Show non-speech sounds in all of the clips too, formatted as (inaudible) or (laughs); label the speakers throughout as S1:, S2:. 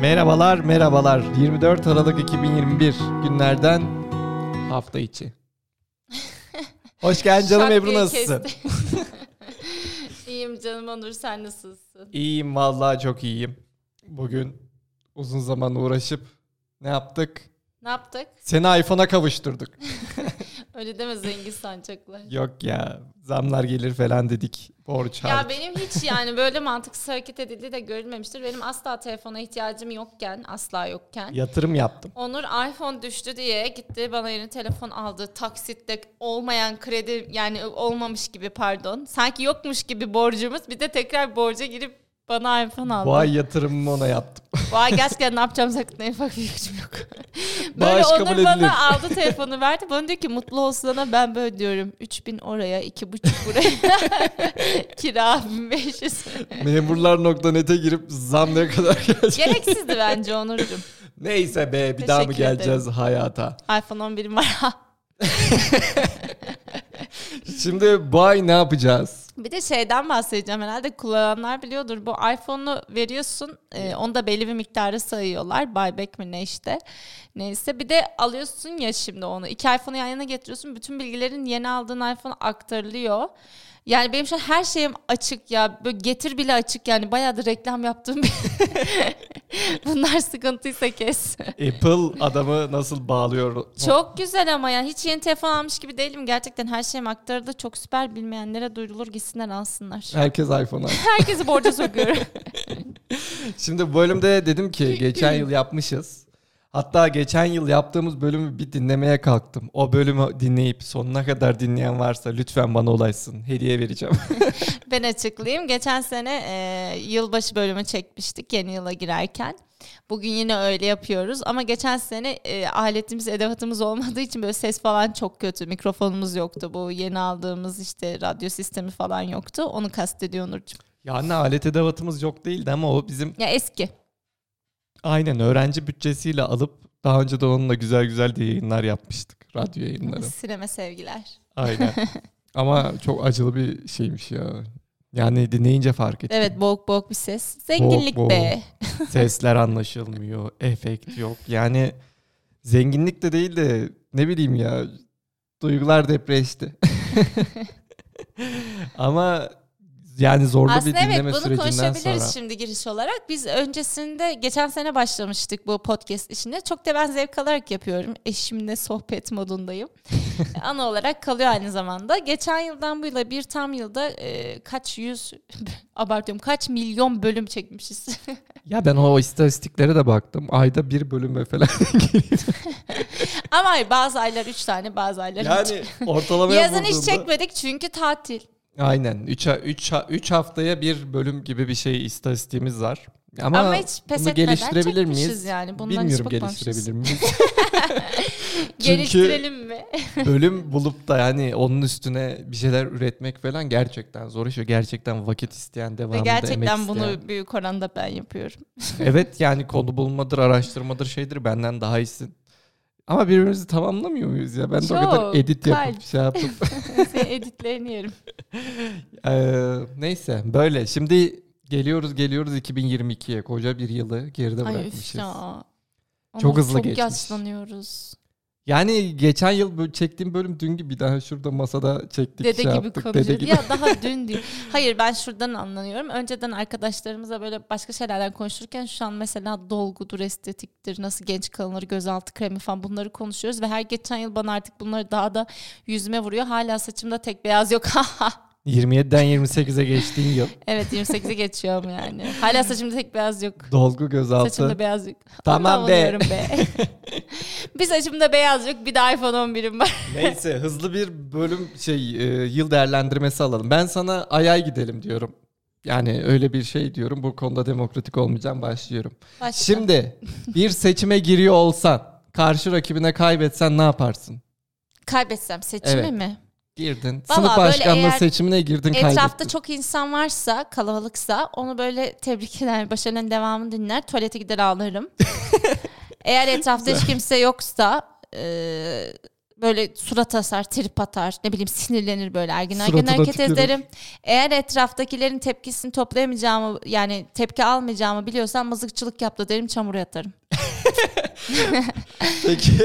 S1: Merhabalar, merhabalar. 24 Aralık 2021 günlerden hafta
S2: (laughs)
S1: içi. Hoş geldin canım
S2: Şak
S1: Ebru
S2: diye
S1: nasılsın?
S2: kesti. İyiyim canım Onur sen nasılsın?
S1: İyiyim vallahi çok iyiyim. Bugün uzun zaman uğraşıp ne yaptık?
S2: Ne yaptık?
S1: Seni iPhone'a
S2: (laughs)
S1: kavuşturduk.
S2: Öyle deme
S1: (laughs)
S2: zengin sancaklar.
S1: Yok ya zamlar gelir falan dedik. Borç
S2: Ya
S1: harç.
S2: benim hiç yani böyle mantıksız hareket edildiği de görülmemiştir. Benim asla telefona ihtiyacım yokken, asla yokken.
S1: Yatırım yaptım.
S2: Onur iPhone düştü diye gitti bana yeni telefon aldı. Taksitte olmayan kredi yani olmamış gibi pardon. Sanki yokmuş gibi borcumuz. Bir de tekrar borca girip bana iPhone aldı.
S1: Bu ay yatırımımı ona
S2: (laughs)
S1: yaptım. (laughs)
S2: Vay gerçekten ne yapacağım sakın en ufak bir fikrim yok. böyle
S1: Bağış
S2: Onur
S1: kabul
S2: bana
S1: edilir.
S2: aldı telefonu verdi. Bana diyor ki mutlu olsun ana ben böyle diyorum. 3000 oraya, 2,5 buraya. (laughs) Kira
S1: (laughs)
S2: 1500.
S1: Memurlar.net'e girip zam ne kadar
S2: (laughs)
S1: gelecek?
S2: Gereksizdi bence Onurcuğum.
S1: Neyse be bir daha mı
S2: Teşekkür ederim.
S1: geleceğiz hayata?
S2: iPhone 11'im var.
S1: Şimdi bu ay ne yapacağız?
S2: bir de şeyden bahsedeceğim. Herhalde kullananlar biliyordur. Bu iPhone'u veriyorsun. e, onu da belli bir miktara sayıyorlar. Buyback mi ne işte. Neyse bir de alıyorsun ya şimdi onu. İki iPhone'u yan yana getiriyorsun. Bütün bilgilerin yeni aldığın iPhone'a aktarılıyor. Yani benim şu an her şeyim açık ya. Böyle getir bile açık yani. Bayağı da reklam yaptığım bir... (laughs) Bunlar sıkıntıysa kes.
S1: Apple adamı nasıl bağlıyor?
S2: Çok güzel ama yani hiç yeni telefon almış gibi değilim. Gerçekten her şeyim aktarıldı. Çok süper bilmeyenlere duyurulur gitsinler alsınlar.
S1: (laughs) Herkes iPhone'a.
S2: Herkesi borca sokuyorum.
S1: Şimdi bu bölümde dedim ki geçen yıl yapmışız. Hatta geçen yıl yaptığımız bölümü bir dinlemeye kalktım. O bölümü dinleyip sonuna kadar dinleyen varsa lütfen bana ulaşsın. Hediye vereceğim. (laughs)
S2: ben açıklayayım. Geçen sene e, yılbaşı bölümü çekmiştik yeni yıla girerken. Bugün yine öyle yapıyoruz ama geçen sene e, aletimiz edevatımız olmadığı için böyle ses falan çok kötü. Mikrofonumuz yoktu bu yeni aldığımız işte radyo sistemi falan yoktu. Onu kastediyor Nurcuğum.
S1: yani alet edevatımız yok değildi ama o bizim
S2: Ya eski.
S1: aynen öğrenci bütçesiyle alıp daha önce de onunla güzel güzel de yayınlar yapmıştık. Radyo yayınları.
S2: Sineme sevgiler. (laughs)
S1: Aynen. Ama çok acılı bir şeymiş ya. Yani dinleyince fark ettim.
S2: Evet boğuk boğuk bir ses. Zenginlik
S1: boğuk.
S2: be.
S1: Sesler anlaşılmıyor, efekt yok. Yani zenginlik de değil de ne bileyim ya duygular depreşti. Ama yani zorlu
S2: Aslında
S1: bir dinleme
S2: evet bunu
S1: sürecinden
S2: konuşabiliriz
S1: sonra.
S2: şimdi giriş olarak. Biz öncesinde geçen sene başlamıştık bu podcast işine. Çok da ben zevk alarak yapıyorum. Eşimle
S1: (laughs)
S2: sohbet modundayım. Ana olarak kalıyor aynı zamanda. Geçen yıldan bu yıla bir tam yılda e, kaç yüz (laughs) abartıyorum kaç milyon bölüm çekmişiz. (laughs)
S1: Ya ben o istatistiklere de baktım. Ayda bir bölüme falan.
S2: Ama hayır, bazı aylar üç tane bazı aylar üç.
S1: yani ortalamaya
S2: Yazın hiç
S1: vurduğunda-
S2: çekmedik çünkü tatil.
S1: Aynen. 3 üç, ha- üç haftaya bir bölüm gibi bir şey istatistiğimiz var. Ama,
S2: Ama, hiç pes
S1: bunu
S2: etmeden
S1: geliştirebilir
S2: çekmişiz
S1: miyiz?
S2: yani. Bundan
S1: Bilmiyorum
S2: hiç bakmamışız.
S1: geliştirebilir miyiz?
S2: (laughs) Geliştirelim mi?
S1: bölüm bulup da yani onun üstüne bir şeyler üretmek falan gerçekten zor iş ve gerçekten vakit isteyen
S2: Ve
S1: devamında emek
S2: gerçekten
S1: isteyen.
S2: bunu büyük oranda ben yapıyorum.
S1: evet yani konu bulmadır, araştırmadır şeydir benden daha iyisin. Ama birbirimizi tamamlamıyor muyuz ya? Ben de o
S2: Çok,
S1: kadar edit yapıp (laughs)
S2: kalp.
S1: şey yaptım.
S2: Senin editlerini yerim.
S1: Ee, neyse böyle. Şimdi geliyoruz geliyoruz 2022'ye. Koca bir yılı geride
S2: Ay üf
S1: bırakmışız.
S2: ya.
S1: Çok
S2: Onur,
S1: hızlı
S2: çok
S1: geçmiş.
S2: yaşlanıyoruz.
S1: Yani geçen yıl böyle çektiğim bölüm dün gibi daha şurada masada çektik
S2: Dede
S1: şey
S2: gibi
S1: yaptık. Dede
S2: konuşuyor.
S1: gibi.
S2: Ya daha dün değil. Hayır ben şuradan anlanıyorum. Önceden arkadaşlarımıza böyle başka şeylerden konuşurken şu an mesela dolgudur, estetiktir, nasıl genç kalınır, gözaltı kremi falan bunları konuşuyoruz. Ve her geçen yıl bana artık bunları daha da yüzüme vuruyor. Hala saçımda tek beyaz yok. (laughs)
S1: 27'den 28'e geçtiğin yıl. (laughs)
S2: evet 28'e geçiyorum yani. Hala saçımda tek beyaz yok.
S1: Dolgu gözaltı.
S2: Saçımda beyaz yok.
S1: Tamam
S2: Tamam
S1: be.
S2: be.
S1: (laughs)
S2: be. bir saçımda beyaz yok bir de iPhone 11'im var.
S1: Neyse hızlı bir bölüm şey e, yıl değerlendirmesi alalım. Ben sana ay ay gidelim diyorum. Yani öyle bir şey diyorum. Bu konuda demokratik olmayacağım başlıyorum.
S2: Başka.
S1: Şimdi bir seçime giriyor olsan, karşı rakibine kaybetsen ne yaparsın?
S2: Kaybetsem seçimi
S1: Evet.
S2: mi?
S1: Girdin.
S2: Vallahi
S1: sınıf
S2: böyle
S1: başkanlığı
S2: eğer
S1: seçimine girdin kaybettin.
S2: Etrafta çok insan varsa kalabalıksa onu böyle tebrik eder. Başarının devamını dinler.
S1: (laughs)
S2: Tuvalete gider ağlarım. Eğer etrafta hiç kimse yoksa e, böyle surat asar, trip atar, ne bileyim sinirlenir böyle ergin ergin
S1: Suratına
S2: hareket
S1: tükürür.
S2: ederim. Eğer etraftakilerin tepkisini toplayamayacağımı yani tepki almayacağımı biliyorsam mızıkçılık yaptı derim çamura yatarım.
S1: Peki.
S2: (laughs)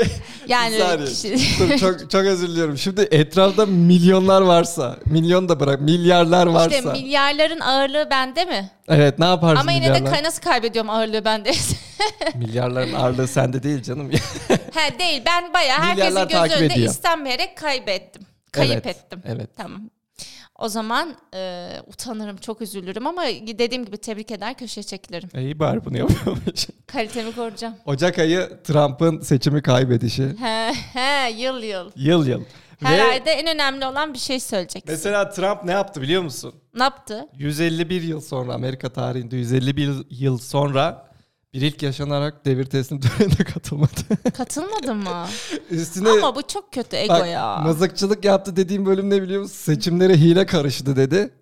S2: Yani
S1: Saniye.
S2: kişi-
S1: Dur, çok, çok özür diliyorum. Şimdi etrafta milyonlar varsa, milyon da bırak milyarlar varsa.
S2: işte milyarların ağırlığı bende mi?
S1: Evet ne yaparsın
S2: Ama yine de
S1: milyarlar?
S2: kay- nasıl kaybediyorum
S1: (laughs)
S2: ağırlığı bende?
S1: Milyarların ağırlığı sende değil canım. (laughs)
S2: He değil ben bayağı herkesin
S1: Milyarlar
S2: gözü
S1: takip
S2: önünde
S1: ediyor.
S2: istenmeyerek kaybettim. Kayıp
S1: Evet,
S2: ettim.
S1: evet.
S2: Tamam. O zaman e, utanırım, çok üzülürüm ama dediğim gibi tebrik eder, köşeye çekilirim.
S1: İyi bari bunu yapıyormuş.
S2: Kalitemi koruyacağım.
S1: Ocak ayı Trump'ın seçimi kaybedişi.
S2: He, he, yıl yıl.
S1: Yıl yıl.
S2: Her
S1: Ve
S2: ayda en önemli olan bir şey söyleyeceksin.
S1: mesela Trump ne yaptı biliyor musun?
S2: Ne yaptı?
S1: 151 yıl sonra Amerika tarihinde 151 yıl sonra bir ilk yaşanarak devir teslim (laughs) törenine katılmadı.
S2: Katılmadı mı?
S1: (laughs) Üstüne
S2: ama bu çok kötü ego
S1: bak,
S2: ya.
S1: mızıkçılık yaptı dediğim bölüm ne biliyor musun? Seçimlere hile karıştı dedi.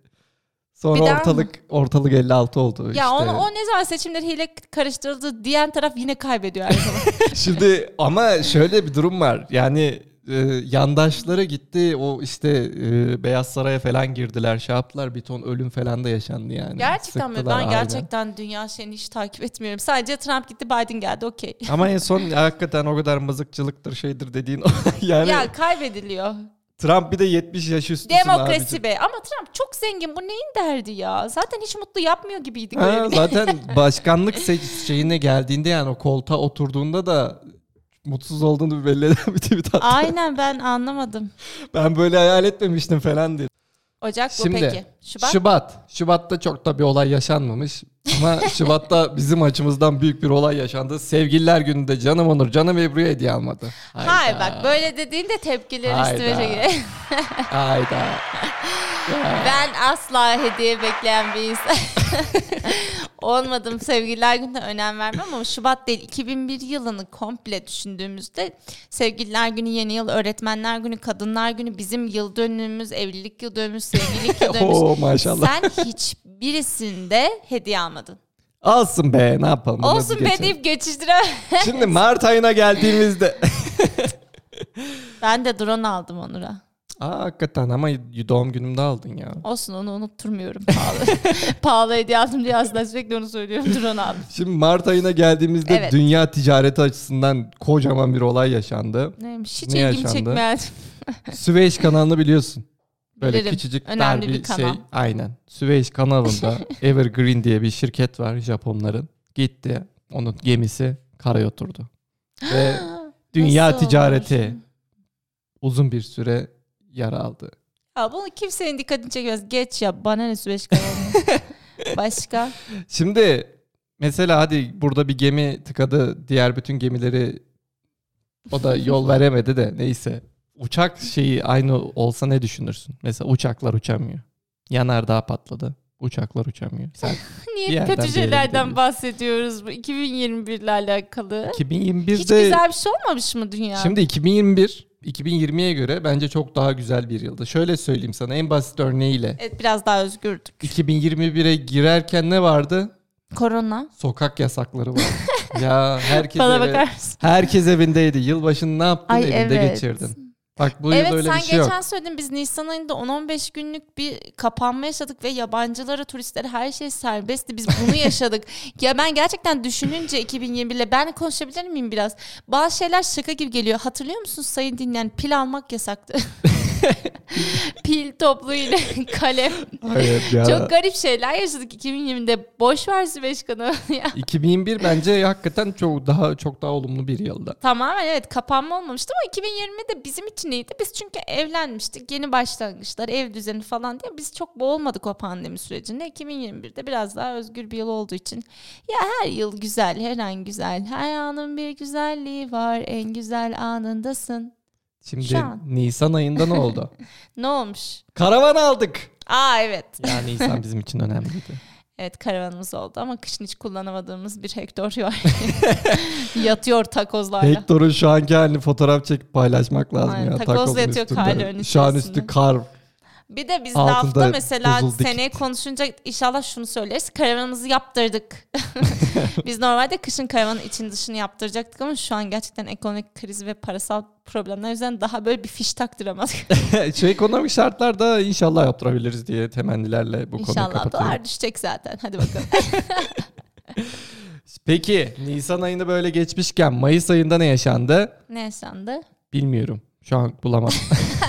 S1: Sonra
S2: Bir daha mı?
S1: ortalık ortalık 56 oldu işte.
S2: Ya onu, o ne zaman seçimleri hile karıştırıldı diyen taraf yine kaybediyor her
S1: (laughs)
S2: zaman.
S1: Şimdi ama şöyle bir durum var. Yani e, yandaşları gitti. O işte e, Beyaz Saray'a falan girdiler. Şey yaptılar. Bir ton ölüm falan da yaşandı yani.
S2: gerçekten mi? Ben
S1: Sıktılar, aynen.
S2: gerçekten dünya şeyini hiç takip etmiyorum. Sadece Trump gitti Biden geldi okey.
S1: Ama en son hakikaten o kadar mızıkçılıktır şeydir dediğin o. (laughs) yani
S2: ya kaybediliyor.
S1: Trump bir de 70 yaş üstüsün abicim.
S2: Demokrasi be. Ama Trump çok zengin. Bu neyin derdi ya? Zaten hiç mutlu yapmıyor gibiydi (laughs)
S1: Ha,
S2: görevini.
S1: zaten başkanlık se- şeyine geldiğinde yani o koltuğa oturduğunda da mutsuz olduğunu belli eden bir tweet attı.
S2: Aynen ben anlamadım.
S1: Ben böyle hayal etmemiştim falan diye.
S2: Ocak bu
S1: Şimdi,
S2: peki. Şubat.
S1: Şubat. Şubat'ta çok da bir olay yaşanmamış.
S2: (laughs)
S1: Ama Şubat'ta bizim açımızdan büyük bir olay yaşandı. Sevgililer gününde canım Onur, canım Ebru'ya hediye almadı.
S2: Hayır bak böyle dediğinde tepkiler
S1: Hayda.
S2: üstüme çekiyor.
S1: Hayda.
S2: ben asla hediye bekleyen bir insan. (laughs) Olmadım sevgililer gününe önem vermem ama Şubat değil 2001 yılını komple düşündüğümüzde sevgililer günü yeni yıl öğretmenler günü kadınlar günü bizim yıl dönümümüz evlilik yıl dönümümüz sevgililik yıl
S1: (laughs)
S2: dönümümüz
S1: Oo maşallah.
S2: Sen hiçbirisinde hediye almadın.
S1: Olsun be ne yapalım.
S2: Olsun be
S1: Nasıl geçelim?
S2: deyip geçiştire.
S1: Şimdi Mart ayına
S2: (laughs)
S1: geldiğimizde.
S2: ben de drone aldım Onur'a.
S1: Aa hakikaten ama doğum günümde aldın ya.
S2: Olsun onu unutturmuyorum pahalı. (laughs) pahalı hediye aldım diye aslında sürekli onu söylüyorum drone aldım.
S1: Şimdi Mart ayına geldiğimizde
S2: Evet.
S1: dünya ticareti açısından kocaman bir olay
S2: (laughs)
S1: yaşandı.
S2: Neymiş hiç
S1: Ne
S2: ilgimi
S1: yaşandı?
S2: çekmeyen.
S1: Süveyş kanalını biliyorsun. Böyle
S2: Bilirim.
S1: küçücük
S2: Önemli
S1: dar bir,
S2: bir
S1: şey.
S2: kanal.
S1: Aynen. Süveyş
S2: (laughs)
S1: kanalında Evergreen diye bir şirket var Japonların. Gitti. Onun gemisi karaya
S2: (gasps)
S1: oturdu. Ve dünya
S2: Nasıl
S1: ticareti
S2: olur?
S1: uzun bir süre yara aldı.
S2: Ya bunu kimsenin dikkatini çekmez. Geç ya bana ne
S1: (laughs)
S2: süreç kalanı. Başka?
S1: Şimdi mesela hadi burada bir gemi tıkadı diğer bütün gemileri o da
S2: (laughs)
S1: yol veremedi de neyse. Uçak şeyi aynı olsa ne düşünürsün? Mesela uçaklar uçamıyor. Yanardağ patladı. Uçaklar uçamıyor.
S2: (laughs)
S1: Sen
S2: Niye
S1: Bir yerden bir
S2: kötü
S1: yere
S2: şeylerden
S1: gidelim.
S2: bahsediyoruz bu 2021'le alakalı? Hiç
S1: 2021'de
S2: güzel bir şey olmamış mı dünya?
S1: Şimdi 2021 2020'ye göre bence çok daha güzel bir yıldı. Şöyle söyleyeyim sana en basit örneğiyle.
S2: Evet biraz daha özgürdük.
S1: 2021'e girerken ne vardı?
S2: Korona.
S1: Sokak yasakları
S2: (laughs)
S1: vardı. ya herkes
S2: Bana
S1: eve-
S2: bakar mısın?
S1: herkes evindeydi. Yılbaşını ne yaptın?
S2: Ay,
S1: Evinde
S2: evet.
S1: geçirdin. Bak bu
S2: evet
S1: yıl öyle
S2: sen
S1: bir şey
S2: geçen
S1: yok.
S2: söyledin biz Nisan ayında 10-15 günlük bir kapanma yaşadık ve yabancılara, turistlere her şey serbestti. Biz
S1: (laughs)
S2: bunu yaşadık. ya ben gerçekten düşününce 2021'le ben konuşabilir miyim biraz? Bazı şeyler şaka gibi geliyor. Hatırlıyor musun sayın dinleyen pil
S1: (laughs)
S2: almak yasaktı. pil toplu ile kalem.
S1: Hayır ya.
S2: (laughs) Çok garip şeyler yaşadık 2020'de. Boş ver Süveyş kanalı (laughs) ya.
S1: 2021 bence hakikaten çok daha çok daha olumlu bir yıldı.
S2: Tamamen evet kapanma olmamıştı ama 2020'de bizim için iyiydi. Biz çünkü evlenmiştik. Yeni başlangıçlar, ev düzeni falan diye biz çok boğulmadık o pandemi sürecinde. 2021'de biraz daha özgür bir yıl olduğu için. Ya her yıl güzel, her an güzel. Her anın bir güzelliği var. En güzel anındasın.
S1: Şimdi
S2: Şu an.
S1: Nisan ayında ne
S2: (laughs)
S1: oldu?
S2: Ne olmuş?
S1: Karavan aldık.
S2: Aa evet.
S1: Ya Nisan bizim için önemliydi.
S2: Evet karavanımız oldu ama kışın hiç kullanamadığımız bir hektar var. Yatıyor takozlarla.
S1: Hector'un şu anki halini fotoğraf çekip paylaşmak lazım
S2: Aynen,
S1: ya.
S2: takozla
S1: Takozun
S2: yatıyor
S1: üstünde.
S2: karların
S1: Şu an
S2: içerisinde.
S1: üstü kar.
S2: Bir de biz
S1: Altında
S2: lafta mesela
S1: buzul dikit.
S2: seneye konuşunca inşallah şunu söyleriz.
S1: (laughs)
S2: Karavanımızı yaptırdık. (laughs) biz normalde kışın karavanın için dışını yaptıracaktık ama şu an gerçekten ekonomik kriz ve parasal problemler yüzünden daha böyle bir
S1: (laughs)
S2: fiş taktıramadık.
S1: şey ekonomik şartlarda inşallah yaptırabiliriz diye temennilerle bu konuyu
S2: inşallah
S1: kapatıyorum.
S2: dolar düşecek zaten.
S1: (laughs)
S2: Hadi bakalım.
S1: Peki Nisan ayını böyle geçmişken Mayıs ayında ne yaşandı?
S2: ne yaşandı?
S1: Bilmiyorum. Şu an
S2: (laughs)
S1: bulamadım.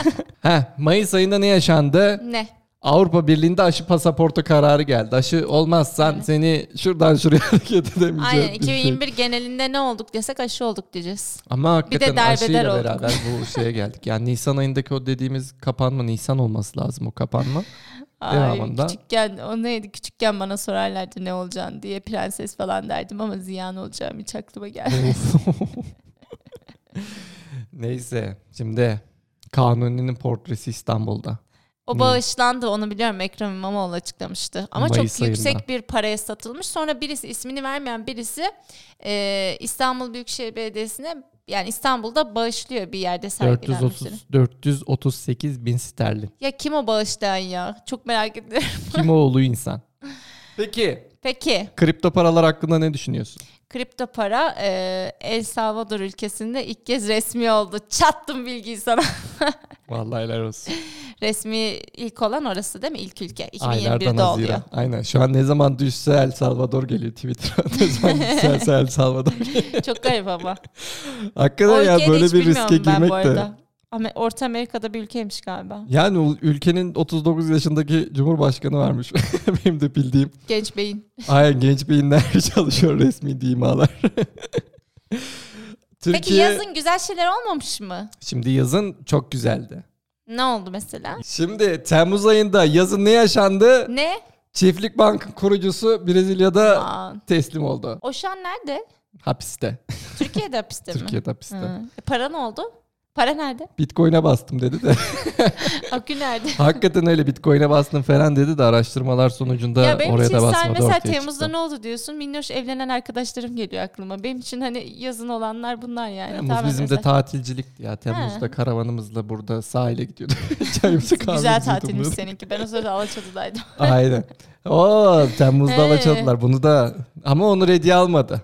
S1: (laughs) Heh, Mayıs ayında ne yaşandı?
S2: Ne?
S1: Avrupa Birliği'nde aşı pasaportu kararı geldi. Aşı olmazsan seni şuradan şuraya (laughs) hareket edemeyeceğim. şey.
S2: Aynen 2021 genelinde ne olduk desek aşı olduk diyeceğiz.
S1: Ama hakikaten
S2: derbeder
S1: aşıyla
S2: olduk.
S1: beraber bu
S2: (laughs)
S1: şeye geldik. Yani Nisan ayındaki o dediğimiz kapanma, Nisan olması lazım o kapanma. E,
S2: Ay,
S1: Devamında.
S2: küçükken o neydi? Küçükken bana sorarlardı ne olacaksın diye prenses falan derdim ama ziyan olacağım hiç aklıma gelmedi.
S1: (laughs) Neyse şimdi Kanuni'nin portresi İstanbul'da. Hmm.
S2: O bağışlandı onu biliyorum Ekrem İmamoğlu açıklamıştı. Ama
S1: Mayıs
S2: çok yüksek
S1: ayında.
S2: bir paraya satılmış. Sonra birisi ismini vermeyen birisi e, İstanbul Büyükşehir Belediyesi'ne yani İstanbul'da bağışlıyor bir yerde sergilenmişleri.
S1: 430, 438 bin sterlin.
S2: Ya kim o bağışlayan ya? Çok merak ediyorum. (laughs)
S1: Kim oğlu insan? Peki
S2: Peki
S1: kripto paralar hakkında ne düşünüyorsun?
S2: kripto para e, El Salvador ülkesinde ilk kez resmi oldu. Çattım bilgiyi sana. (laughs)
S1: Vallahi helal olsun.
S2: resmi ilk olan orası değil mi? İlk ülke.
S1: Aylardan
S2: 2021'de oluyor.
S1: Haziran. Aynen. Şu an ne zaman düşse El Salvador geliyor Twitter'a. (laughs) Ne zaman düşse El Salvador geliyor.
S2: Çok garip ama.
S1: Hakikaten ya
S2: ülkeyi de
S1: böyle
S2: hiç
S1: bir riske
S2: bilmiyorum ben
S1: girmek
S2: bu
S1: de.
S2: arada. Ama Orta Amerika'da bir ülkeymiş galiba.
S1: Yani o ülkenin 39 yaşındaki cumhurbaşkanı varmış. (laughs) Benim de bildiğim.
S2: Genç beyin.
S1: Aynen genç beyinler (laughs) çalışıyor resmi dimalar. (laughs) Türkiye
S2: Peki yazın güzel şeyler olmamış mı?
S1: şimdi yazın çok güzeldi.
S2: Ne oldu mesela?
S1: Şimdi Temmuz ayında yazın ne yaşandı?
S2: Ne?
S1: Çiftlik Bank'ın kurucusu Brezilya'da
S2: Aa,
S1: teslim oldu.
S2: o şu an nerede?
S1: Hapiste.
S2: Türkiye'de hapiste mi?
S1: Türkiye'de hapiste.
S2: Hı. E, para ne oldu?
S1: (laughs)
S2: Para nerede?
S1: Bitcoin'e bastım dedi de. (laughs)
S2: Akü nerede?
S1: Hakikaten öyle Bitcoin'e bastım falan dedi de araştırmalar sonucunda
S2: ya benim
S1: oraya
S2: için
S1: da
S2: sen
S1: basmadı
S2: mesela
S1: ortaya
S2: Temmuz'da
S1: çıktı.
S2: ne oldu diyorsun? Minnoş evlenen arkadaşlarım geliyor aklıma. Benim için hani yazın olanlar bunlar yani.
S1: Temmuz
S2: Tamamen
S1: bizim de
S2: özel.
S1: tatilcilikti ya. Temmuz'da karavanımızla burada sahile gidiyorduk. (laughs) Çayımızı kahvemizi
S2: Güzel tatilmiş
S1: yudumluyorduk.
S2: seninki. Ben o sırada Alaçatı'daydım.
S1: Aynen. Oo Temmuz'da
S2: Ee.
S1: alaçadılar bunu da. Ama onu hediye almadı.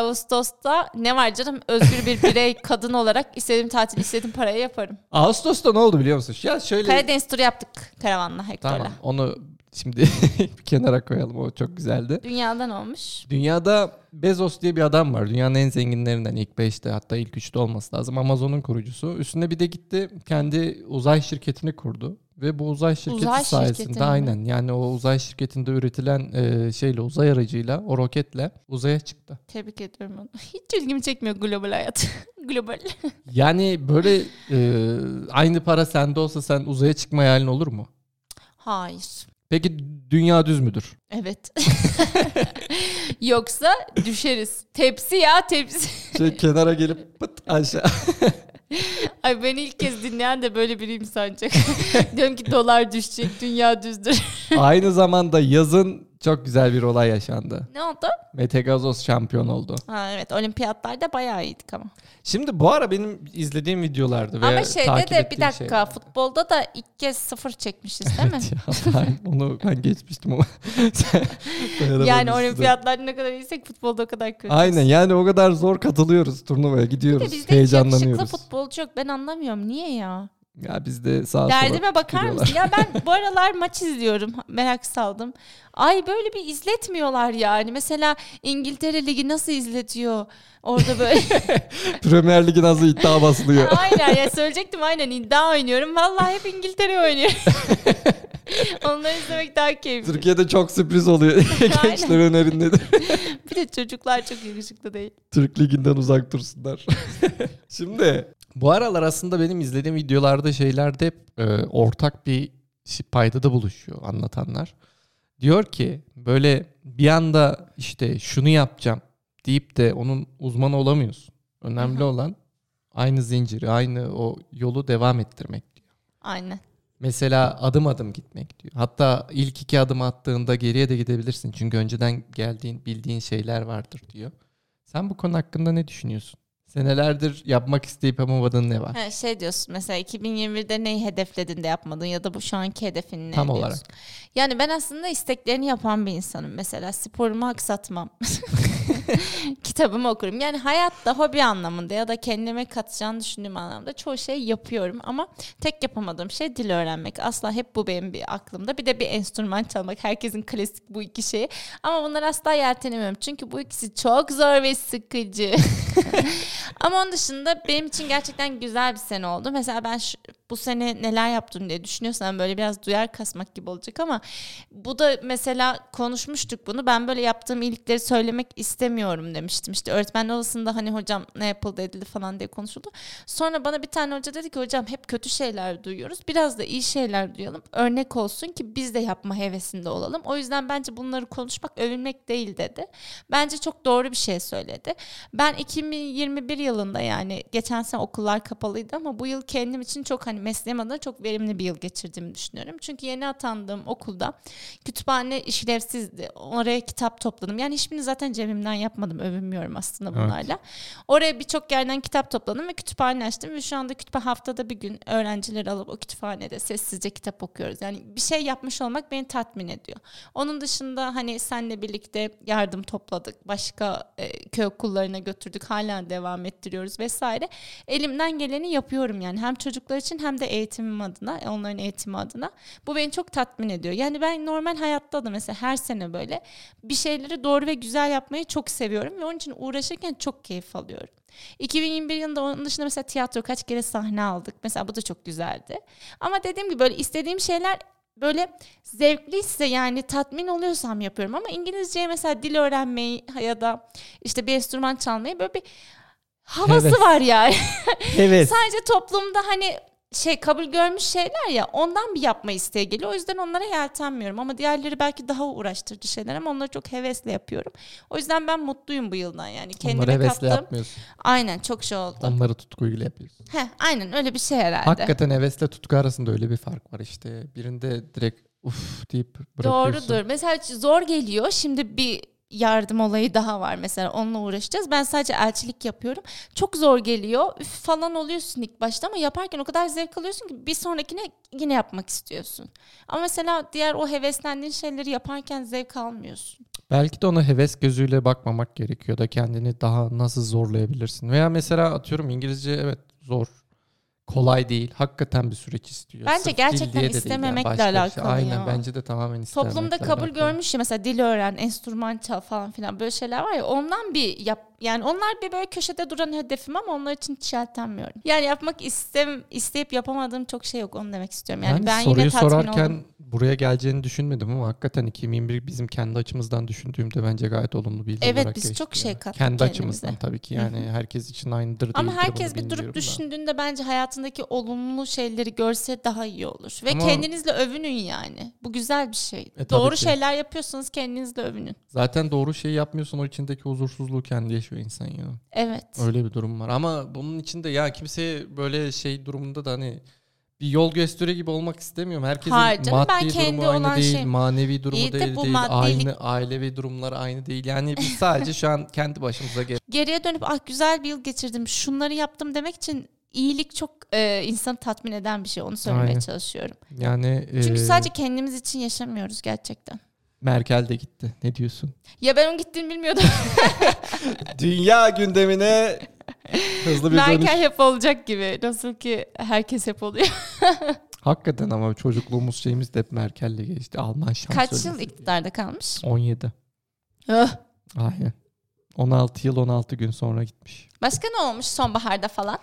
S2: Ağustos'ta ne var canım? Özgür bir (laughs) birey kadın olarak istediğim tatil, istediğim parayı yaparım.
S1: Ağustos'ta ne oldu biliyor musun? Ya şöyle
S2: Karadeniz turu yaptık karavanla Hector'la.
S1: tamam onu şimdi (laughs) bir kenara koyalım o çok güzeldi.
S2: Dünyadan olmuş.
S1: Dünyada Bezos diye bir adam var. Dünyanın en zenginlerinden ilk 5'te hatta ilk 3'te olması lazım. Amazon'un kurucusu. Üstüne bir de gitti kendi uzay şirketini kurdu. Ve bu uzay şirketi
S2: Uzay şirketini
S1: sayesinde
S2: mi?
S1: aynen yani o uzay şirketinde üretilen e, şeyle uzay aracıyla o roketle uzaya çıktı.
S2: Tebrik ediyorum onu. (laughs) Hiç ilgimi çekmiyor global hayat. (laughs) global.
S1: Yani böyle e, aynı para sende olsa sen uzaya çıkma hayalin olur mu?
S2: Hayır.
S1: Peki dünya düz müdür?
S2: Evet. (laughs) Yoksa düşeriz. Tepsi ya tepsi. (laughs)
S1: Şey kenara gelip pıt aşağı.
S2: Ay beni ilk kez dinleyen de böyle biriyim sanacak. (laughs) Diyorum ki dolar düşecek, dünya düzdür. (laughs)
S1: aynı zamanda yazın çok güzel bir olay yaşandı.
S2: ne oldu?
S1: Mete Gazoz şampiyon oldu.
S2: Ha, evet olimpiyatlarda bayağı iyiydik ama.
S1: Şimdi bu ara benim izlediğim videolarda ve
S2: Ama şeyde
S1: takip şey.
S2: de bir
S1: ettiğim
S2: dakika futbolda da ilk kez sıfır çekmişiz
S1: (laughs)
S2: değil mi?
S1: Evet ya, ben onu ben geçmiştim ama. (laughs)
S2: yani
S1: Dayanamamıştım.
S2: olimpiyatlarda ne kadar iyiysek futbolda o kadar kötü.
S1: Aynen yani o kadar zor katılıyoruz turnuvaya gidiyoruz
S2: Bizde hiç yakışıklı
S1: heyecanlanıyoruz.
S2: futbolcu yok ben anlamıyorum niye ya?
S1: Ya bizde sağ sola
S2: Derdime bakar
S1: giriyorlar. (laughs)
S2: mısın? Ya ben bu aralar maç izliyorum merak saldım. Ay böyle bir izletmiyorlar yani. Mesela İngiltere Ligi nasıl izletiyor?
S1: (laughs)
S2: Orada böyle (laughs)
S1: Premier Lig'in azı iddia basılıyor.
S2: aynen ya söyleyecektim aynen iddia oynuyorum. Vallahi hep
S1: (laughs)
S2: İngiltere oynuyor. Onları izlemek daha keyifli.
S1: Türkiye'de çok sürpriz oluyor. (laughs) Gençler önerindedir.
S2: Bir de çocuklar çok yakışıklı değil.
S1: Türk Ligi'nden uzak dursunlar. Şimdi bu aralar aslında benim izlediğim videolarda şeylerde hep e, ortak bir şey- paydada buluşuyor anlatanlar. Diyor ki böyle bir anda işte şunu yapacağım deyip de onun uzmanı olamıyorsun. Önemli olan aynı zinciri, aynı o yolu devam ettirmek.
S2: Aynen.
S1: Mesela adım adım gitmek diyor. Hatta ilk iki adım attığında geriye de gidebilirsin. Çünkü önceden geldiğin, bildiğin şeyler vardır diyor. Sen bu konu hakkında ne düşünüyorsun? Senelerdir yapmak isteyip yapamadığın ne var?
S2: Ha, şey diyorsun mesela 2021'de neyi hedefledin de yapmadın ya da bu şu anki hedefin ne
S1: Tam
S2: diyorsun.
S1: olarak.
S2: (laughs) Yani ben aslında isteklerini yapan bir insanım mesela sporumu
S1: (laughs)
S2: aksatmam. (laughs) Kitabımı okurum. Yani hayatta hobi anlamında ya da kendime katacağını düşündüğüm anlamda çoğu şey yapıyorum ama tek yapamadığım şey dil öğrenmek. Asla hep bu benim bir aklımda. Bir de bir enstrüman çalmak. Herkesin klasik bu iki şeyi. Ama bunları asla yeltenemiyorum. Çünkü bu ikisi çok zor ve sıkıcı. (laughs) Ama onun dışında benim için gerçekten güzel bir sene oldu. Mesela ben şu- bu sene neler yaptım diye düşünüyorsam böyle biraz duyar kasmak gibi olacak ama bu da mesela konuşmuştuk bunu. Ben böyle yaptığım iyilikleri söylemek istemiyorum demiştim. İşte öğretmen odasında hani hocam ne yapıldı edildi falan diye konuşuldu. Sonra bana bir tane hoca dedi ki hocam hep kötü şeyler duyuyoruz. Biraz da iyi şeyler duyalım. Örnek olsun ki biz de yapma hevesinde olalım. O yüzden bence bunları konuşmak övünmek değil dedi. Bence çok doğru bir şey söyledi. Ben 2021 yılında yani geçen sene okullar kapalıydı ama bu yıl kendim için çok hani mesleğim adına çok verimli bir yıl geçirdiğimi düşünüyorum. Çünkü yeni atandığım okulda kütüphane işlevsizdi. Oraya kitap topladım. Yani hiçbirini zaten cebimden yapmadım. Övünmüyorum aslında
S1: Evet.
S2: bunlarla. Oraya birçok yerden kitap topladım ve kütüphane açtım ve şu anda kütüphane haftada bir gün öğrencileri alıp o kütüphanede sessizce kitap okuyoruz. Yani bir şey yapmış olmak beni tatmin ediyor. Onun dışında hani senle birlikte yardım topladık. Başka e, köy okullarına götürdük. Hala devam ettiriyoruz vesaire. Elimden geleni yapıyorum yani. Hem çocuklar için hem de eğitimim adına, e, onların eğitimi adına. Bu beni çok tatmin ediyor. Yani ben normal hayatta da mesela her sene böyle bir şeyleri doğru ve güzel yapmayı çok seviyorum ve onun için uğraşırken çok keyif alıyorum. 2021 yılında onun dışında mesela tiyatro kaç kere sahne aldık. Mesela bu da çok güzeldi. Ama dediğim gibi böyle istediğim şeyler böyle zevkliyse yani tatmin oluyorsam yapıyorum ama İngilizceye mesela dil öğrenmeyi ya da işte bir enstrüman çalmayı böyle bir havası
S1: Evet.
S2: var yani.
S1: Evet.
S2: Sadece toplumda hani şey kabul görmüş şeyler ya ondan bir yapma isteği geliyor. O yüzden onlara yeltenmiyorum ama diğerleri belki daha uğraştırıcı şeyler ama onları çok hevesle yapıyorum. O yüzden ben mutluyum bu yıldan yani. Kendime
S1: Onları hevesle
S2: kattığım-
S1: yapmıyorsun.
S2: Aynen çok şey oldu.
S1: Onları tutkuyla yapıyorsun.
S2: Heh, aynen öyle bir şey herhalde.
S1: Hakikaten hevesle tutku arasında öyle bir fark var işte. Birinde direkt uf deyip bırakıyorsun.
S2: Doğrudur. Mesela zor geliyor. Şimdi bir yardım olayı daha var mesela onunla uğraşacağız. Ben sadece elçilik yapıyorum. Çok zor geliyor. Üf falan oluyorsun ilk başta ama yaparken o kadar zevk alıyorsun ki bir sonrakine yine yapmak istiyorsun. Ama mesela diğer o heveslendiğin şeyleri yaparken zevk almıyorsun.
S1: Belki de ona heves gözüyle bakmamak gerekiyor da kendini daha nasıl zorlayabilirsin. Veya mesela atıyorum İngilizce evet zor. Kolay değil. Hakikaten bir süreç istiyor.
S2: Bence
S1: Sırf dil
S2: gerçekten
S1: diye de değil
S2: istememekle
S1: başka bir şey.
S2: alakalı
S1: Aynen
S2: ya.
S1: bence de tamamen istememekle
S2: Toplumda kabul
S1: alakalı.
S2: görmüş ya mesela dil öğren, enstrüman çal falan filan böyle şeyler var ya ondan bir yap yani onlar bir böyle köşede duran hedefim ama onlar için hiç yeltenmiyorum. Yani yapmak istem isteyip yapamadığım çok şey yok onu demek istiyorum. Yani,
S1: Yani
S2: ben
S1: soruyu
S2: yine tatmin
S1: sorarken
S2: oldum.
S1: buraya geleceğini düşünmedim ama hakikaten 2021 bizim kendi açımızdan düşündüğümde bence gayet olumlu bir yıl
S2: Evet,
S1: olarak
S2: biz
S1: geçti
S2: çok
S1: ya.
S2: şey kattık
S1: Kendi
S2: kendimize.
S1: açımızdan tabii ki yani herkes için aynıdır
S2: Ama
S1: değildir bunu
S2: herkes bir
S1: bilmiyorum da.
S2: durup düşündüğünde bence hayatındaki olumlu şeyleri görse daha iyi olur. Ve
S1: Ama- E,
S2: kendinizle övünün yani. Bu güzel bir şey.
S1: tabii
S2: Doğru
S1: ki.
S2: şeyler yapıyorsanız kendinizle övünün.
S1: Zaten doğru şeyi yapmıyorsan o içindeki huzursuzluğu kendi yaşıyor insan ya.
S2: Evet.
S1: Öyle bir durum var. Ama bunun içinde ya kimseye böyle şey durumunda da hani bir yol gösteri gibi olmak istemiyorum. Herkesin
S2: Hayır canım, ben
S1: maddi
S2: kendi
S1: durumu aynı
S2: olan
S1: değil,
S2: şey-
S1: manevi durumu
S2: İyi de
S1: değil,
S2: bu
S1: değil.
S2: maddilik-
S1: Aynı ailevi durumlar aynı değil. Yani
S2: (laughs)
S1: biz sadece şu an kendi başımıza gel.
S2: geriye dönüp ah güzel bir yıl geçirdim şunları yaptım demek için iyilik çok e, insanı tatmin eden bir şey onu söylemeye
S1: Aynen.
S2: çalışıyorum.
S1: Yani
S2: Çünkü
S1: e,
S2: sadece kendimiz için yaşamıyoruz gerçekten.
S1: Merkel de gitti. Ne diyorsun?
S2: Ya ben onun gittiğini bilmiyordum.
S1: Dünya gündemine hızlı bir dönüş.
S2: Merkel hep olacak gibi. Nasıl ki herkes hep oluyor.
S1: Hakikaten ama çocukluğumuz şeyimiz de hep Merkel'le geçti. Alman şansölye.
S2: Kaç yıl iktidarda kalmış?
S1: 17.
S2: Öh.
S1: Aynen. 16 yıl 16 gün sonra gitmiş.
S2: Başka ne olmuş sonbaharda falan?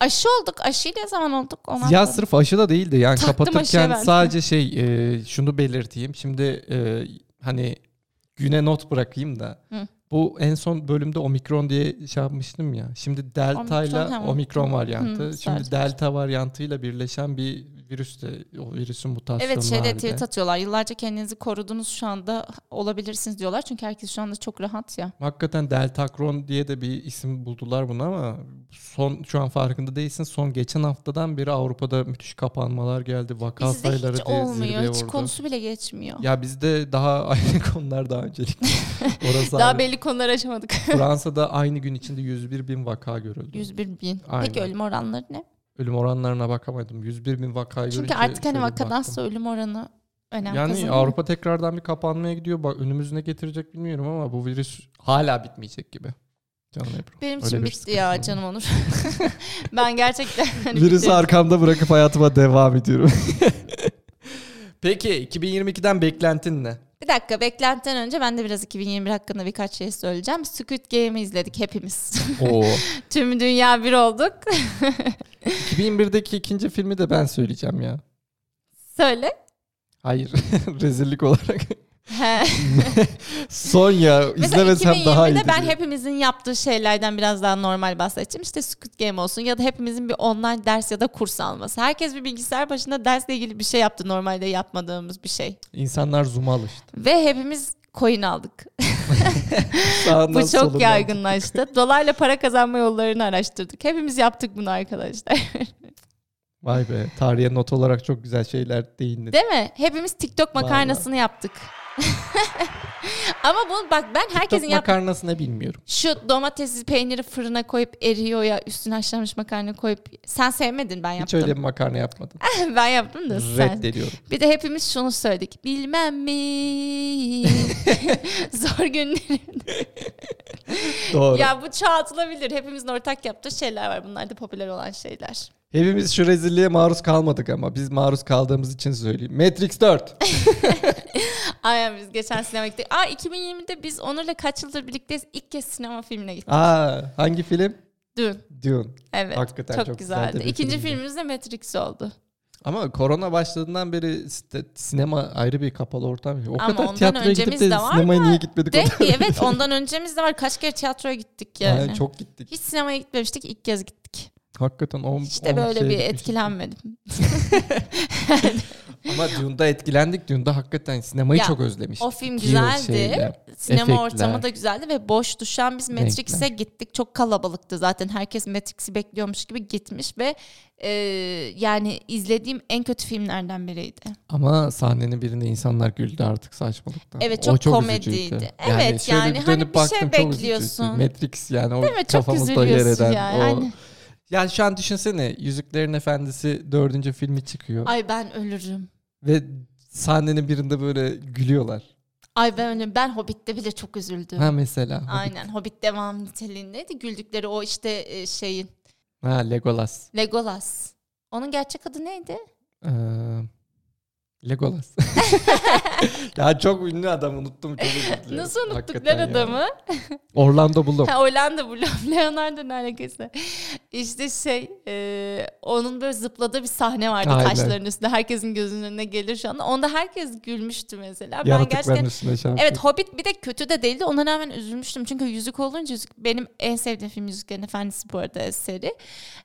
S2: Aşı olduk. Aşıyla zaman olduk. Ona
S1: Ya sırf aşı da değildi yani
S2: Taktım aşıya
S1: kapatırken
S2: ben.
S1: sadece şey e, şunu belirteyim. Şimdi e, hani güne not bırakayım da.
S2: Hı.
S1: Bu en son bölümde omikron diye şey yapmıştım ya. Şimdi delta
S2: Omikron,
S1: ile
S2: ha,
S1: omikron varyantı.
S2: Hı,
S1: Şimdi
S2: sadece.
S1: delta varyantıyla birleşen bir virüs de o virüsün mutasyonu
S2: Evet şey şeyde
S1: halinde.
S2: tweet atıyorlar. Yıllarca kendinizi korudunuz şu anda olabilirsiniz diyorlar. Çünkü herkes şu anda çok rahat ya.
S1: Hakikaten Deltacron diye de bir isim buldular bunu ama son şu an farkında değilsin. Son geçen haftadan beri Avrupa'da müthiş kapanmalar geldi. Vaka
S2: Bizde
S1: sayıları
S2: hiç
S1: diye zirveye
S2: olmuyor. Hiç
S1: vurdu.
S2: konusu bile geçmiyor.
S1: Ya bizde daha (laughs) aynı konular daha öncelikli.
S2: (laughs)
S1: Orası
S2: Daha
S1: ayrı.
S2: belli konuları (laughs) aşamadık.
S1: Fransa'da aynı gün içinde 101 bin vaka görüldü.
S2: 101 bin. Peki
S1: Aynen.
S2: ölüm oranları ne?
S1: Ölüm oranlarına bakamadım. 101 bin vakayı
S2: Çünkü
S1: görünce
S2: artık hani
S1: şöyle
S2: vakadansa
S1: baktım.
S2: ölüm oranı önem
S1: Yani
S2: kazanıyor.
S1: Avrupa tekrardan bir kapanmaya gidiyor. Bak önümüz ne getirecek bilmiyorum ama bu virüs hala bitmeyecek gibi. Canım Ebru.
S2: Benim
S1: Öyle
S2: için
S1: bir
S2: bitti
S1: sıkıntı var.
S2: ya canım Onur. (laughs) ben (laughs) gerçekten hani
S1: Virüsü
S2: bir-
S1: arkamda bırakıp hayatıma devam ediyorum. (laughs) Peki 2022'den beklentin ne?
S2: Bir dakika beklentiden önce ben de biraz 2021 hakkında birkaç şey söyleyeceğim. Squid Game'i izledik hepimiz. (laughs)
S1: (laughs) Oo.
S2: Tüm dünya bir olduk. (laughs)
S1: 2001'deki ikinci filmi de ben söyleyeceğim ya.
S2: Söyle.
S1: Hayır. (laughs) Rezillik olarak.
S2: He.
S1: Sonya
S2: Mesela
S1: izlemesem daha iyi.
S2: 2020'de ben hepimizin yaptığı şeylerden biraz daha normal bahsedeceğim. İşte Squid Game olsun ya da hepimizin bir online ders ya da kurs alması. Herkes bir bilgisayar başında dersle ilgili bir şey yaptı normalde yapmadığımız bir şey.
S1: İnsanlar zoom'a alıştı.
S2: (laughs) Ve hepimiz coin aldık. (laughs)
S1: Sağından
S2: Bu çok
S1: solundan.
S2: yaygınlaştı. Dolarla para kazanma yollarını araştırdık. Hepimiz yaptık bunu arkadaşlar. (laughs)
S1: Vay be. Tarihe not olarak çok güzel şeyler değindi.
S2: Değil mi? Hepimiz TikTok
S1: Vallahi.
S2: makarnasını yaptık. (laughs) Ama bunu bak ben herkesin
S1: Herkesin
S2: yap
S1: makarnasını bilmiyorum.
S2: şu domatesli peyniri fırına koyup eriyor ya üstüne haşlanmış makarna koyup sen sevmedin ben
S1: Hiç
S2: yaptım.
S1: öyle bir makarna yapmadım.
S2: (laughs) ben yaptım da sen. (laughs)
S1: Reddediyorum.
S2: Bir de hepimiz şunu söyledik. Bilmem mi? (laughs) Zor günlerim.
S1: Doğru.
S2: ya bu çoğaltılabilir. Hepimizin ortak yaptığı şeyler var. Bunlar da popüler olan şeyler.
S1: Hepimiz şu rezilliğe maruz kalmadık ama biz maruz kaldığımız için söyleyeyim. Matrix 4.
S2: (laughs) Aynen biz geçen sinema gittik. Aa 2020'de biz Onur'la kaç yıldır birlikteyiz? İlk kez sinema filmine gittik.
S1: Aa, hangi film?
S2: Dün.
S1: Dune.
S2: Evet.
S1: Hakikaten
S2: çok,
S1: çok güzel
S2: güzeldi.
S1: de bir
S2: İkinci
S1: filmdi.
S2: filmimiz de Matrix oldu.
S1: Ama korona başladığından beri site- sinema ayrı bir kapalı ortam. O
S2: Ama
S1: kadar
S2: ondan
S1: tiyatroya gidip
S2: öncemiz
S1: de
S2: de var
S1: sinemaya niye gitmedik? o
S2: De ki
S1: (laughs)
S2: evet ondan öncemiz de var. Kaç kere tiyatroya gittik
S1: da-
S2: yani.
S1: Aynen, çok gittik.
S2: Hiç sinemaya gitmemiştik. ilk kez gittik.
S1: Hakikaten on,
S2: Hiç de
S1: on
S2: böyle
S1: şeye
S2: bir
S1: şey gitmiştik.
S2: etkilenmedim.
S1: Ama Dune'da etkilendik. Dune'da hakikaten sinemayı
S2: Ya,
S1: çok özlemiştik.
S2: O film
S1: Yıl şey
S2: güzeldi.
S1: şeyle.
S2: Sinema
S1: efektler.
S2: ortamı da güzeldi ve boş düşen biz Matrix'e gittik. Çok kalabalıktı zaten. Herkes Matrix'i bekliyormuş gibi gitmiş ve e, yani izlediğim en kötü filmlerden biriydi.
S1: Ama sahnenin birinde insanlar güldü artık saçmalıktan.
S2: Evet,
S1: O
S2: çok
S1: üzücüydü.
S2: komediydi. Evet,
S1: şöyle
S2: yani
S1: bir
S2: hani
S1: dönüp
S2: bir şey
S1: baktım, çok
S2: bekliyorsun.
S1: üzücüydü. Matrix yani o
S2: Değil mi? Çok
S1: kafamızda yer
S2: üzülüyorsun
S1: eden
S2: yani,
S1: o.
S2: aynen.
S1: Yani şu an düşünsene Yüzüklerin Efendisi dördüncü filmi çıkıyor.
S2: Ay ben ölürüm.
S1: Ve sahnenin birinde böyle gülüyorlar.
S2: Ay ben ölürüm. Ben Hobbit'te bile çok üzüldüm.
S1: Ha mesela. Hobbit.
S2: (laughs) Aynen Hobbit devam niteliğindeydi. Güldükleri o işte e, şeyin
S1: Ha Legolas.
S2: Legolas. Onun gerçek adı neydi?
S1: Ee,
S2: (laughs)
S1: Legolas. ya çok ünlü adam unuttum. Çok özür dilerim.
S2: Nasıl unuttuk
S1: Hakikaten
S2: lan
S1: ya.
S2: adamı?
S1: Orlando Bloom.
S2: Ha, Hollanda bu (laughs) laf. Leonardo ne alakası? İşte şey e, onun böyle zıpladığı bir sahne vardı
S1: Aynen.
S2: taşların üstünde. Herkesin gözünün önüne gelir şu anda. Onda herkes gülmüştü mesela. Ben
S1: Yaratıkların
S2: gerçekten
S1: üstüne şampiyon.
S2: Evet Hobbit bir de kötü de değildi. Ona rağmen üzülmüştüm. Çünkü Yüzük olunca Yüzük benim en sevdiğim film Yüzüklerin Efendisi bu arada seri.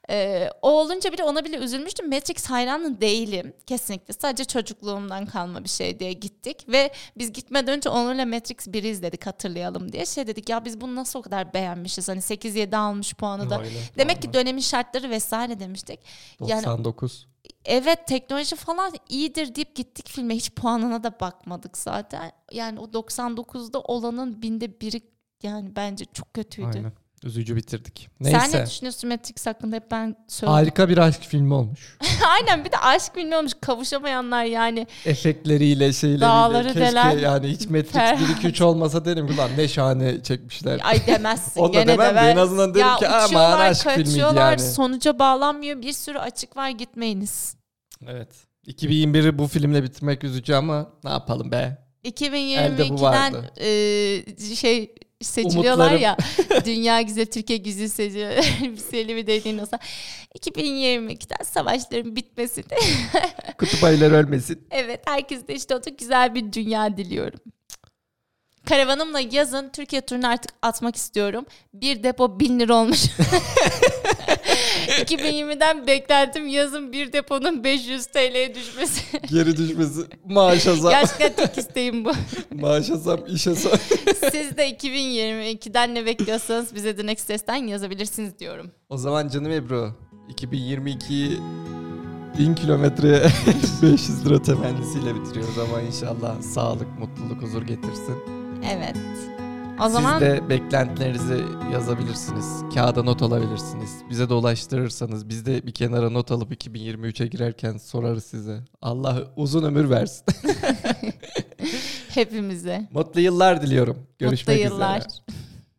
S2: Ee, o olunca bile ona bile üzülmüştüm. Matrix hayranı değilim. Kesinlikle. Sadece çocukluğumdan kalma bir şey diye gittik. Ve biz gitmeden önce onlarla Matrix 1'i izledik hatırlayalım diye. Şey dedik ya biz bunu nasıl o kadar beğenmişiz. Hani 8-7 almış puanı da.
S1: Aynen,
S2: Demek ki
S1: aynen.
S2: dönemin şartları vesaire demiştik. Yani
S1: 99.
S2: evet teknoloji falan iyidir deyip gittik filme hiç puanına da bakmadık zaten. Yani o 99'da olanın binde biri yani bence çok kötüydü.
S1: Aynen. Üzücü bitirdik.
S2: Sen ne
S1: Neyse.
S2: düşünüyorsun Matrix hakkında hep ben söylüyorum.
S1: Harika bir aşk filmi
S2: (laughs)
S1: olmuş.
S2: Aynen bir de aşk bilmiyormuş kavuşamayanlar yani.
S1: Efektleriyle şeyleriyle.
S2: Dağları
S1: Keşke
S2: delen
S1: yani hiç Matrix
S2: Ferhat.
S1: 1 2 3 olmasa derim ki "Ulan ne şahane çekmişler.
S2: Ay
S1: (laughs)
S2: demezsin
S1: Onu da
S2: gene
S1: demem de
S2: ben-
S1: en azından derim
S2: ya
S1: ki, "Aman
S2: uçuyorlar,
S1: aşk filmiydi
S2: kaçıyorlar,
S1: yani."
S2: sonuca bağlanmıyor bir sürü açık var gitmeyiniz.
S1: Evet. 2021'i bu filmle bitirmek üzücü ama ne yapalım be. Elde bu
S2: 2022'den
S1: vardı.
S2: e, şey seçiliyorlar
S1: Umutlarım.
S2: ya. (laughs) Dünya güzel, Türkiye güzel seçiyor. (laughs) Elbiseli bir dediğin olsa. 2022'den savaşların bitmesi de.
S1: Kutup ayıları ölmesin.
S2: evet herkes de işte otur güzel bir dünya diliyorum. karavanımla yazın Türkiye turunu artık atmak istiyorum. Bir depo bin lira olmuş. (laughs) 2020'den beklentim yazın bir deponun 500 TL'ye düşmesi.
S1: Geri düşmesi. Maaşa zam.
S2: Gerçekten tek isteğim bu.
S1: Maaşa zam, işe zam.
S2: Siz de 2022'den ne bekliyorsanız bize The Next Ses'ten yazabilirsiniz diyorum.
S1: O zaman canım Ebru 2022'yi 1000 (laughs) kilometreye 500 lira temennisiyle bitiriyoruz ama inşallah sağlık, mutluluk, huzur getirsin.
S2: Evet. O zaman
S1: Siz de beklentilerinizi yazabilirsiniz. Kağıda not alabilirsiniz. Bize de ulaştırırsanız biz de bir kenara not alıp 2023'e girerken sorarız size. Allah uzun ömür versin. (laughs)
S2: hepimize
S1: Mutlu yıllar diliyorum. Görüşmek
S2: mutlu yıllar.
S1: üzere.